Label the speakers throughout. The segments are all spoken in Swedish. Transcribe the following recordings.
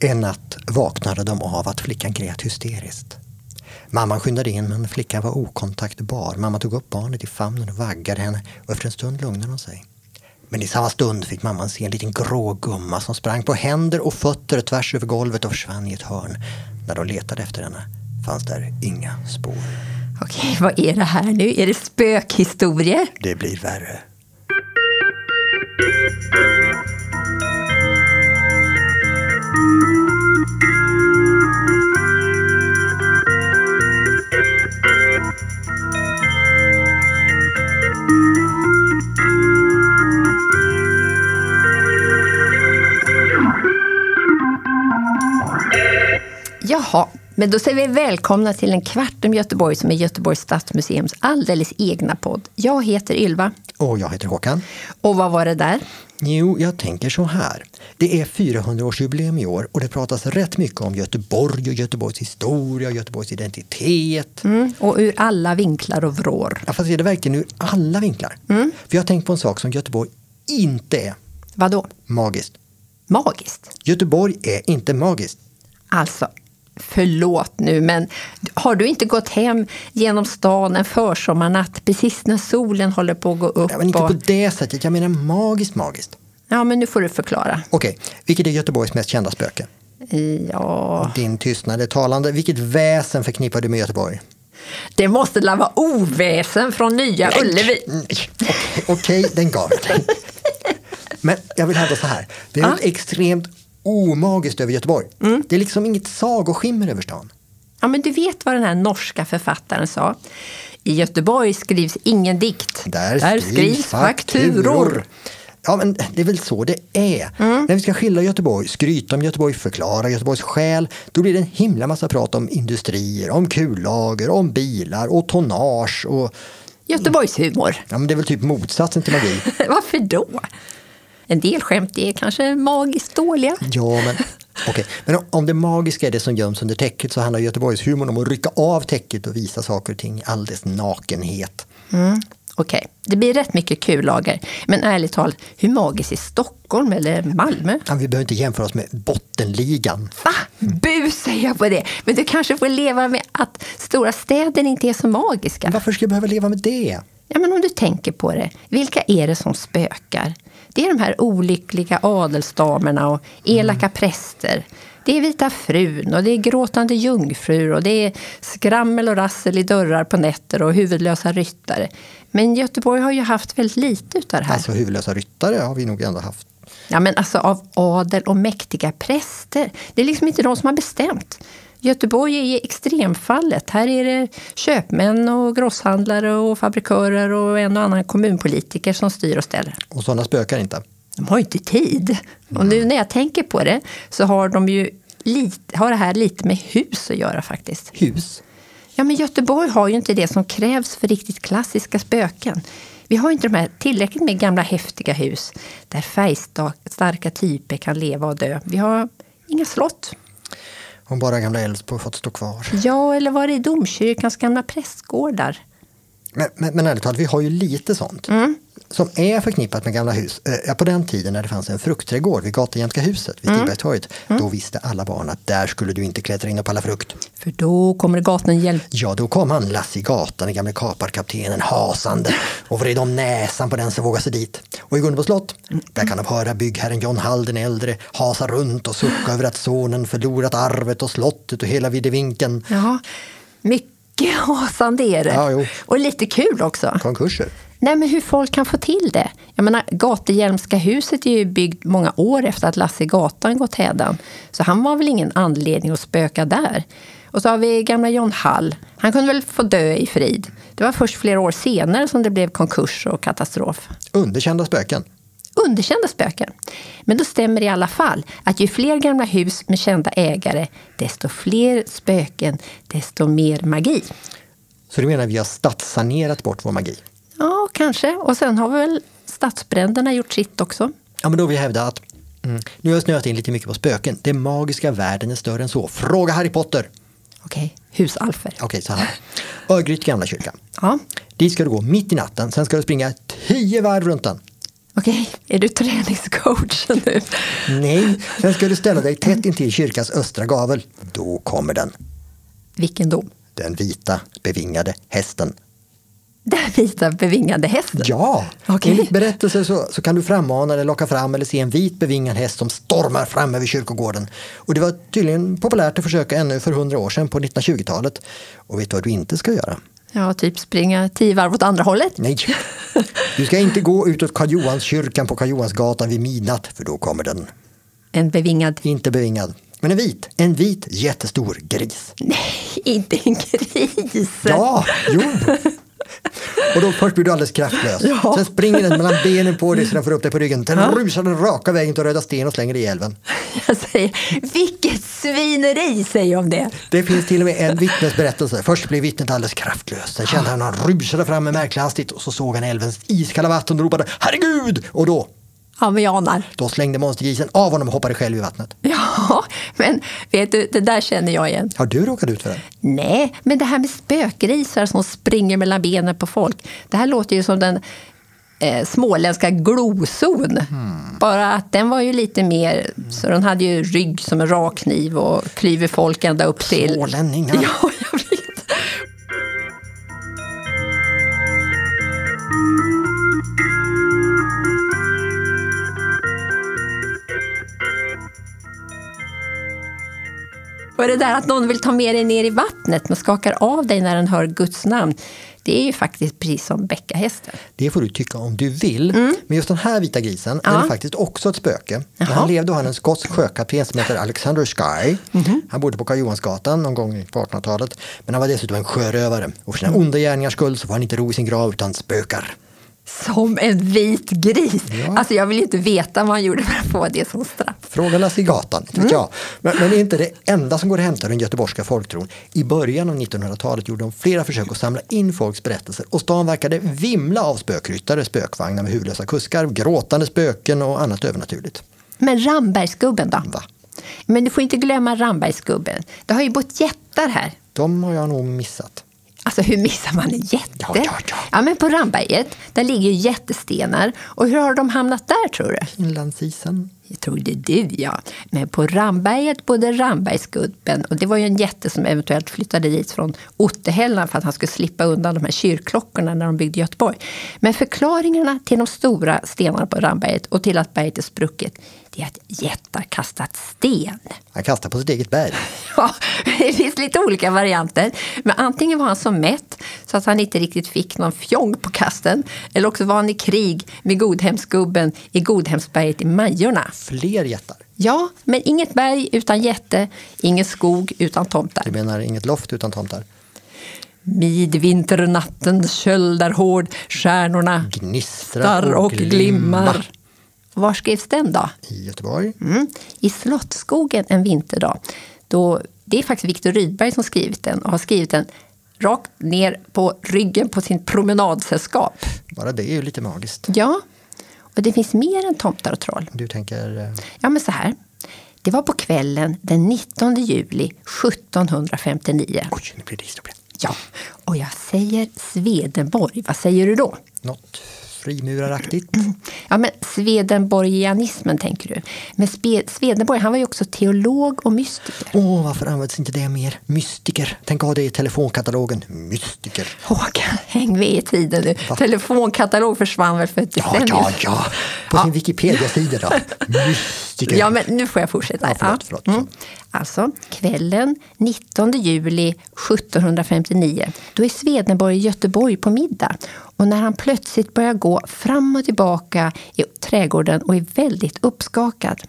Speaker 1: En natt vaknade de av att flickan grät hysteriskt. Mamman skyndade in men flickan var okontaktbar. Mamma tog upp barnet i famnen och vaggade henne och efter en stund lugnade hon sig. Men i samma stund fick mamman se en liten grå gumma som sprang på händer och fötter tvärs över golvet och försvann i ett hörn. När de letade efter henne fanns där inga spår.
Speaker 2: Okej, vad är det här nu? Är det spökhistorier?
Speaker 1: Det blir värre.
Speaker 2: Jaha, men då säger vi välkomna till En kvart om Göteborg som är Göteborgs stadsmuseums alldeles egna podd. Jag heter Ylva.
Speaker 1: Och jag heter Håkan.
Speaker 2: Och vad var det där?
Speaker 1: Jo, jag tänker så här. Det är 400-årsjubileum i år och det pratas rätt mycket om Göteborg och Göteborgs historia och Göteborgs identitet.
Speaker 2: Mm. Och ur alla vinklar och vrår.
Speaker 1: Ja, fast är det verkligen ur alla vinklar? För jag har tänkt på en sak som Göteborg inte är.
Speaker 2: Vadå?
Speaker 1: Magiskt.
Speaker 2: Magiskt?
Speaker 1: Göteborg är inte magiskt.
Speaker 2: Alltså, förlåt nu, men har du inte gått hem genom stan en försommarnatt precis när solen håller på att gå upp?
Speaker 1: Ja, men inte på
Speaker 2: och...
Speaker 1: det sättet, jag menar magiskt magiskt.
Speaker 2: ja, men nu får du förklara.
Speaker 1: Okej, vilket är Göteborgs mest kända spöke?
Speaker 2: Ja,
Speaker 1: Din tystnad är talande. Vilket väsen förknippar du med Göteborg?
Speaker 2: det måste la vara oväsen från Nya Ullevi.
Speaker 1: Nej, Okej, Mm, okej, den gav jag dig. Men jag vill hävda så här. Det är något extremt omagiskt över Göteborg. Det är liksom inget sagoskimmer över stan.
Speaker 2: Ja, men du vet vad den här norska författaren sa. I Göteborg skrivs ingen dikt.
Speaker 1: Ja, men det är väl så det är. När vi ska skilja Göteborg, skryta om Göteborg, förklara Göteborgs själ, då blir det en himla massa prat om industrier, om kullager, om bilar och tonnage. Och,
Speaker 2: Göteborgs humor.
Speaker 1: ja, men det är väl typ motsatsen till magi.
Speaker 2: Varför då? En del skämt är kanske magiskt dåliga.
Speaker 1: Ja, men okej. Men om- om det magiska är det som göms under täcket så handlar Göteborgshumorn om att rycka av täcket och visa saker och ting i all dess nakenhet.
Speaker 2: Okej, det blir rätt mycket kullager. Men ärligt talat, hur magiskt är Stockholm eller Malmö?
Speaker 1: Ja, Vi behöver inte jämföra oss med bottenligan.
Speaker 2: Va? Bu säger jag på det. Men du kanske får leva med att stora städer inte är så magiska.
Speaker 1: Varför ska jag behöva leva med det?
Speaker 2: Ja, men om du tänker på det, vilka är det som spökar? Det är de här olyckliga adelsdamerna och elaka präster. Det är vita frun och det är gråtande jungfrur och det är skrammel och rassel i dörrar på nätter och huvudlösa ryttare. Men Göteborg har ju haft väldigt lite utav det här.
Speaker 1: Alltså huvudlösa ryttare har vi nog ändå haft.
Speaker 2: Ja, men alltså av adel och mäktiga präster. Det är liksom inte de som har bestämt. Göteborg är ju extremfallet. Här är det köpmän och grosshandlare och fabrikörer och en och annan kommunpolitiker som styr och ställer.
Speaker 1: Och sådana spökar inte.
Speaker 2: De har ju inte tid. Och nu när jag tänker på det så har de ju lite, har det här lite med hus att göra faktiskt.
Speaker 1: Hus?
Speaker 2: Ja, men Göteborg har ju inte det som krävs för riktigt klassiska spöken. Vi har inte de här tillräckligt med gamla häftiga hus där färgstarka typer kan leva och dö. Vi har inga slott.
Speaker 1: Om bara gamla Älvsborg fått stå kvar.
Speaker 2: Ja, eller var det är domkyrkans gamla prästgårdar?
Speaker 1: Men, men, men ärligt talat, vi har ju lite sånt. Som är förknippat med gamla hus. Eh, ja, På den tiden när det fanns en fruktträdgård vid Gatujämska huset vid Tillbergstorget. Då visste alla barn att där skulle du inte klättra in och palla frukt.
Speaker 2: För då kommer gatunhjälp.
Speaker 1: Ja, då kom han, Lasse i gatan, den gamle kaparkaptenen, hasande och vred om näsan på den som vågade sig dit. Och i Gunnebo slott, där kan de höra byggherren John Hall den äldre hasa runt och sucka över att sonen förlorat arvet och slottet och hela viddevinken.
Speaker 2: Ja, mycket hasande är det.
Speaker 1: Ja, jo.
Speaker 2: och lite kul också.
Speaker 1: Konkurser.
Speaker 2: Nej, men hur folk kan få till det. Jag menar, Gatehjälmska huset är ju byggt många år efter att Lasse Gatan gått hädan. Så han var väl ingen anledning att spöka där. Och så har vi gamla John Hall. Han kunde väl få dö i frid. Det var först flera år senare som det blev konkurs och katastrof.
Speaker 1: Underkända spöken.
Speaker 2: Underkända spöken. Men då stämmer det i alla fall att ju fler gamla hus med kända ägare, desto fler spöken, desto mer magi.
Speaker 1: Så du menar vi har stadssanerat bort vår magi?
Speaker 2: Ja, kanske. Och sen har väl stadsbränderna gjort sitt också.
Speaker 1: Ja, men då vill jag hävda att mm, nu har jag snöat in lite mycket på spöken. Den magiska världen är större än så. Fråga Harry Potter!
Speaker 2: Okej, husalfer.
Speaker 1: Okej, så här. Örgryte gamla kyrka.
Speaker 2: Ja.
Speaker 1: Dit ska du gå mitt i natten, sen ska du springa tio varv runt den.
Speaker 2: Okej, Okej, är du träningscoach nu?
Speaker 1: Nej, sen ska du ställa dig tätt intill kyrkans östra gavel. Då kommer den.
Speaker 2: Vilken dom?
Speaker 1: Den vita, bevingade hästen.
Speaker 2: Den vita bevingade hästen?
Speaker 1: Ja!
Speaker 2: Okej.
Speaker 1: Enligt berättelser så, så kan du frammana eller locka fram eller se en vit bevingad häst som stormar fram över kyrkogården. Och det var tydligen populärt att försöka ännu för hundra år sedan på 1920-talet. Och vet du vad du inte ska göra?
Speaker 2: Ja, typ springa tio varv åt andra hållet.
Speaker 1: Nej! Du ska inte gå utåt Karl Johanskyrkan på Karl Johansgatan vid midnatt, för då kommer den.
Speaker 2: En bevingad...
Speaker 1: Inte bevingad. Men en vit, en vit jättestor gris.
Speaker 2: Nej, inte en gris!
Speaker 1: Ja, jo. Och då först blir du alldeles kraftlös.
Speaker 2: Ja.
Speaker 1: Sen springer den mellan benen på dig så den får upp dig på ryggen. Den rusar den raka vägen till Röda Sten och slänger dig i älven.
Speaker 2: Jag säger, vilket svineri säger jag om det!
Speaker 1: Det finns till och med en vittnesberättelse. Först blev vittnet alldeles kraftlös. Sen kände han att han rusade fram med märklig hastighet och så såg han älvens iskalla vatten och ropade ”Herregud!” och då,
Speaker 2: Ja, men jag anar.
Speaker 1: då slängde monstergrisen av honom och hoppade själv i vattnet.
Speaker 2: Ja, men vet du, det där känner jag igen.
Speaker 1: Har du råkat ut för det?
Speaker 2: Nej, men det här med spökgrisar som springer mellan benen på folk. Det här låter ju som den eh, småländska gloson. Bara att den var ju lite mer, så den hade ju rygg som en rak kniv och klyver folk ända upp till...
Speaker 1: Smålänningar.
Speaker 2: Ja, jag vet. Och det där att någon vill ta med dig ner i vattnet men skakar av dig när den hör Guds namn. Det är ju faktiskt precis som bäckahästen.
Speaker 1: Det får du tycka om du vill. Men just den här vita grisen den
Speaker 2: Mm. Ja.
Speaker 1: är faktiskt också ett spöke. När
Speaker 2: Jaha.
Speaker 1: Han levde och han en skotsk sjökapten som heter Alexander Sky.
Speaker 2: Mhm.
Speaker 1: Han bodde på Karl Johansgatan någon gång på 1800-talet. Men han var dessutom en sjörövare. Och för sina onda gärningars skull så får han inte ro i sin grav utan spökar.
Speaker 2: Som en vit gris!
Speaker 1: Ja.
Speaker 2: Alltså jag vill ju inte veta vad han gjorde för att få det som straff.
Speaker 1: Fråga Lasse i gatan, inte
Speaker 2: Mm.
Speaker 1: vet jag. Men, men det är inte det enda som går att hämta ur den göteborgska folktron. I början av 1900-talet gjorde de flera försök att samla in folks berättelser och stan verkade vimla av spökryttare, spökvagnar med huvudlösa kuskar, gråtande spöken och annat övernaturligt.
Speaker 2: Men Rambergsgubben då?
Speaker 1: Va?
Speaker 2: Men du får inte glömma Rambergsgubben. Det har ju bott jättar här.
Speaker 1: De har jag nog missat.
Speaker 2: Alltså hur missar man en jätte?
Speaker 1: Ja, ja, ja.
Speaker 2: men på Ramberget, där ligger ju jättestenar. Och hur har de hamnat där tror du?
Speaker 1: Inlandsisen.
Speaker 2: Jag tror det är du ja. Men på Ramberget bodde Rambergsgubben. Och det var ju en jätte som eventuellt flyttade dit från Ottehällan för att han skulle slippa undan de här kyrkklockorna när de byggde Göteborg. Men förklaringarna till de stora stenarna på Ramberget och till att berget är sprucket, det är att jättar kastat sten.
Speaker 1: Han kastar på sitt eget berg.
Speaker 2: Ja, det finns lite olika varianter. Men antingen var han så mätt så att han inte riktigt fick någon fjong på kasten. Eller också var han i krig med Godhemsgubben i Godhemsberget i Majorna.
Speaker 1: Fler jättar.
Speaker 2: Ja, men inget berg utan jätte, ingen skog utan
Speaker 1: Du
Speaker 2: tomtar.
Speaker 1: menar inget loft utan tomtar?
Speaker 2: Midvinternattens köld är hård, stjärnorna
Speaker 1: Gnistrar
Speaker 2: starr och glimmar. Var skrevs den då?
Speaker 1: I Göteborg.
Speaker 2: Mm. I Slottsskogen en vinterdag. Då, det är faktiskt Viktor Rydberg som skrivit den och har skrivit den rakt ner på ryggen på sin promenadsällskap.
Speaker 1: Bara det är ju lite magiskt.
Speaker 2: Ja, och det finns mer än tomtar och troll.
Speaker 1: Du tänker... eh,
Speaker 2: Ja, men så här. Det var på kvällen den 19 juli 1759.
Speaker 1: Oj, nu blir det historia.
Speaker 2: Ja, och jag säger Swedenborg. Vad säger du då?
Speaker 1: Något frimuraraktigt.
Speaker 2: Ja, men Swedenborgianismen tänker du. Men Spe- Swedenborg, han var ju också teolog och mystiker.
Speaker 1: Åh, varför används inte det mer? Mystiker. Tänk att ha det i telefonkatalogen. Mystiker.
Speaker 2: Håkan, häng med i tiden nu. Telefonkatalog försvann väl för ett
Speaker 1: Ja,
Speaker 2: decennium
Speaker 1: ja, ja. På sin Wikipedia-sida då. Mystiker.
Speaker 2: Ja, men nu får jag fortsätta.
Speaker 1: Ja, förlåt, förlåt. Mm.
Speaker 2: Alltså, kvällen 19 juli 1759, då är Swedenborg i Göteborg på middag. Och när han plötsligt börjar gå fram och tillbaka i trädgården och är väldigt uppskakad.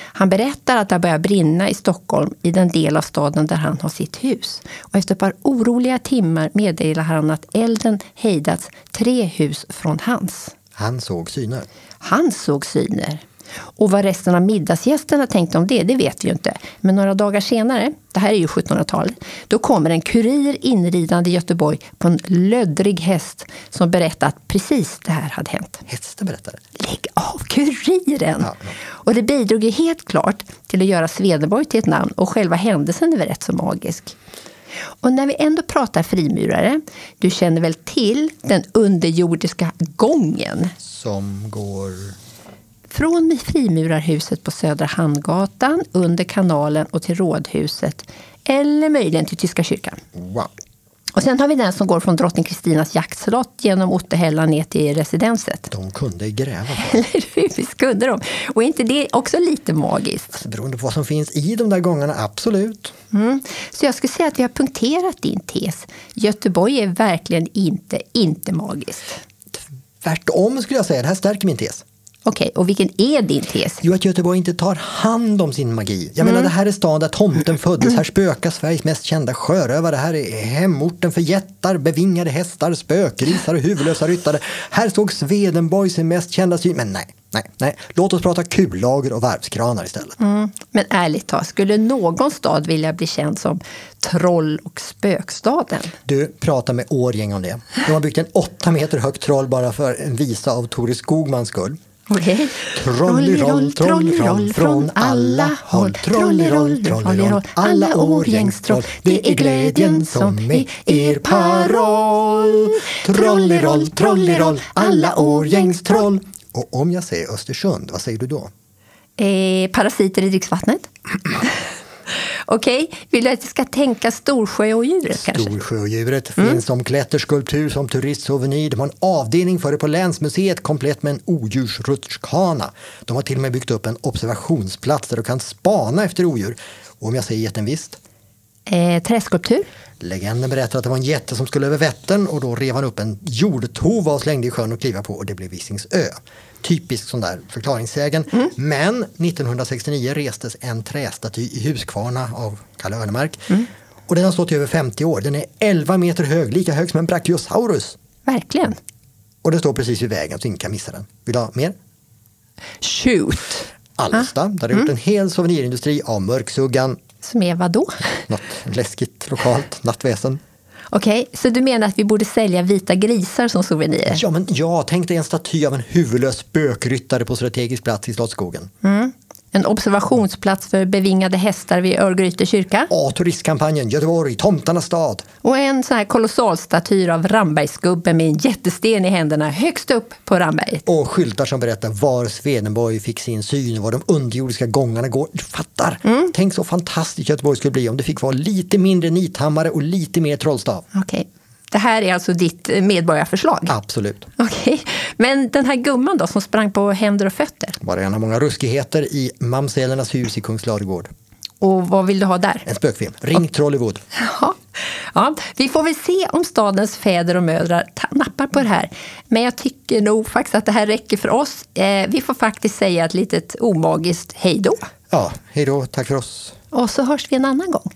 Speaker 2: Han berättar att det börjar brinna i Stockholm i den del av staden där han har sitt hus. Och efter ett par oroliga timmar meddelar han att elden hejdats tre hus från hans.
Speaker 1: Han såg syner.
Speaker 2: Han såg syner. Och vad resten av middagsgästerna tänkte om det, det vet vi ju inte. Men några dagar senare, det här är ju 1700-talet, då kommer en kurir inridande i Göteborg på en löddrig häst som berättar att precis det här hade hänt.
Speaker 1: Hästen berättade.
Speaker 2: Lägg av kuriren!
Speaker 1: Ja, ja.
Speaker 2: Och det bidrog ju helt klart till att göra Swedenborg till ett namn och själva händelsen är väl rätt så magisk. Och när vi ändå pratar frimurare, du känner väl till den underjordiska gången?
Speaker 1: Som går...
Speaker 2: Från frimurarhuset på Södra Hamngatan, under kanalen och till Rådhuset eller möjligen till Tyska kyrkan.
Speaker 1: Wow.
Speaker 2: Och sen har vi den som går från Drottning Kristinas jaktslott genom Ottehälla ner till residenset.
Speaker 1: De kunde gräva.
Speaker 2: Eller hur? Visst kunde de? Och är inte det också lite magiskt?
Speaker 1: Så Beroende på vad som finns i de där gångarna, absolut.
Speaker 2: Mm. Så jag skulle säga att vi har punkterat din tes. Göteborg är verkligen inte, inte magiskt.
Speaker 1: Tvärtom skulle jag säga, det här stärker min tes.
Speaker 2: Okej, och vilken är din tes?
Speaker 1: Jo, att Göteborg inte tar hand om sin magi. Jag menar, det här är staden där tomten föddes. Här spökar Sveriges mest kända sjörövare. Det här är hemorten för jättar, bevingade hästar, spökgrisar och huvudlösa ryttare. Här såg Swedenborg sin mest kända syn. Men nej, nej, nej. Låt oss prata kullager och varvskranar istället.
Speaker 2: Mm. Men ärligt talat, skulle någon stad vilja bli känd som troll och spökstaden?
Speaker 1: Du, prata med Årjäng om det. De har byggt en åtta meter hög troll bara för en visa av Tore Skogmans skull.
Speaker 2: Okej.
Speaker 1: Trolliroll, trolliroll från alla håll Trolliroll, trolliroll, alla Årjängstroll Det är glädjen som är er paroll Trolliroll, trolliroll, alla Årjängstroll Och om jag säger Östersund, vad säger du då?
Speaker 2: Eh, parasiter i dricksvattnet? Okej, vill du att jag ska tänka Storsjöodjuret kanske?
Speaker 1: Storsjöodjuret finns som klätterskulptur, som turistsouvenir. De har en avdelning för det på Länsmuseet komplett med en odjursrutschkana. De har till och med byggt upp en observationsplats där du kan spana efter odjur. Och om jag säger jätten visst?
Speaker 2: Eh, träskulptur?
Speaker 1: Legenden berättar att det var en jätte som skulle över Vättern och då rev han upp en jordtova och slängde i sjön och kliva på och det blev Visingsö. Typisk sån där förklaringssägen. Men 1969 restes en trästaty i Huskvarna av Kalle Örnemark. Och den har stått i över 50 år. Den är 11 meter hög, lika hög som en brachiosaurus.
Speaker 2: Verkligen.
Speaker 1: Och den står precis vid vägen så ingen kan missa den. Vill du ha mer?
Speaker 2: Shoot!
Speaker 1: Alsta, där har gjort en hel souvenirindustri av mörksuggan.
Speaker 2: Som är vad då?
Speaker 1: Något läskigt lokalt nattväsen.
Speaker 2: Okej, så du menar att vi borde sälja vita grisar som souvenirer?
Speaker 1: Ja, men ja, tänk dig en staty av en huvudlös spökryttare på strategisk plats i Slottsskogen.
Speaker 2: En observationsplats för bevingade hästar vid Örgryte kyrka?
Speaker 1: Ja, turistkampanjen Göteborg, tomtarnas stad.
Speaker 2: Och en sån här kolossal staty av Rambergsgubben med en jättesten i händerna högst upp på Ramberget.
Speaker 1: Och skyltar som berättar var Swedenborg fick sin syn och var de underjordiska gångarna går. Du fattar! Tänk så fantastiskt Göteborg skulle bli om det fick vara lite mindre nithammare och lite mer trollstav.
Speaker 2: Okej. Det här är alltså ditt eh, medborgarförslag?
Speaker 1: Absolut.
Speaker 2: Okej. Men den här gumman då som sprang på händer och fötter?
Speaker 1: Bara en av många ruskigheter i Mamsellernas hus i Kungsladugård.
Speaker 2: Och vad vill du ha där?
Speaker 1: En spökfilm. Ring Trollywood.
Speaker 2: Jaha. Ja, vi får väl se om stadens fäder och mödrar ta- nappar på det här. Men jag tycker nog faktiskt att det här räcker för oss. Eh, vi får faktiskt säga ett litet omagiskt hej då.
Speaker 1: Ja, hej då. Tack för oss.
Speaker 2: Och så hörs vi en annan gång.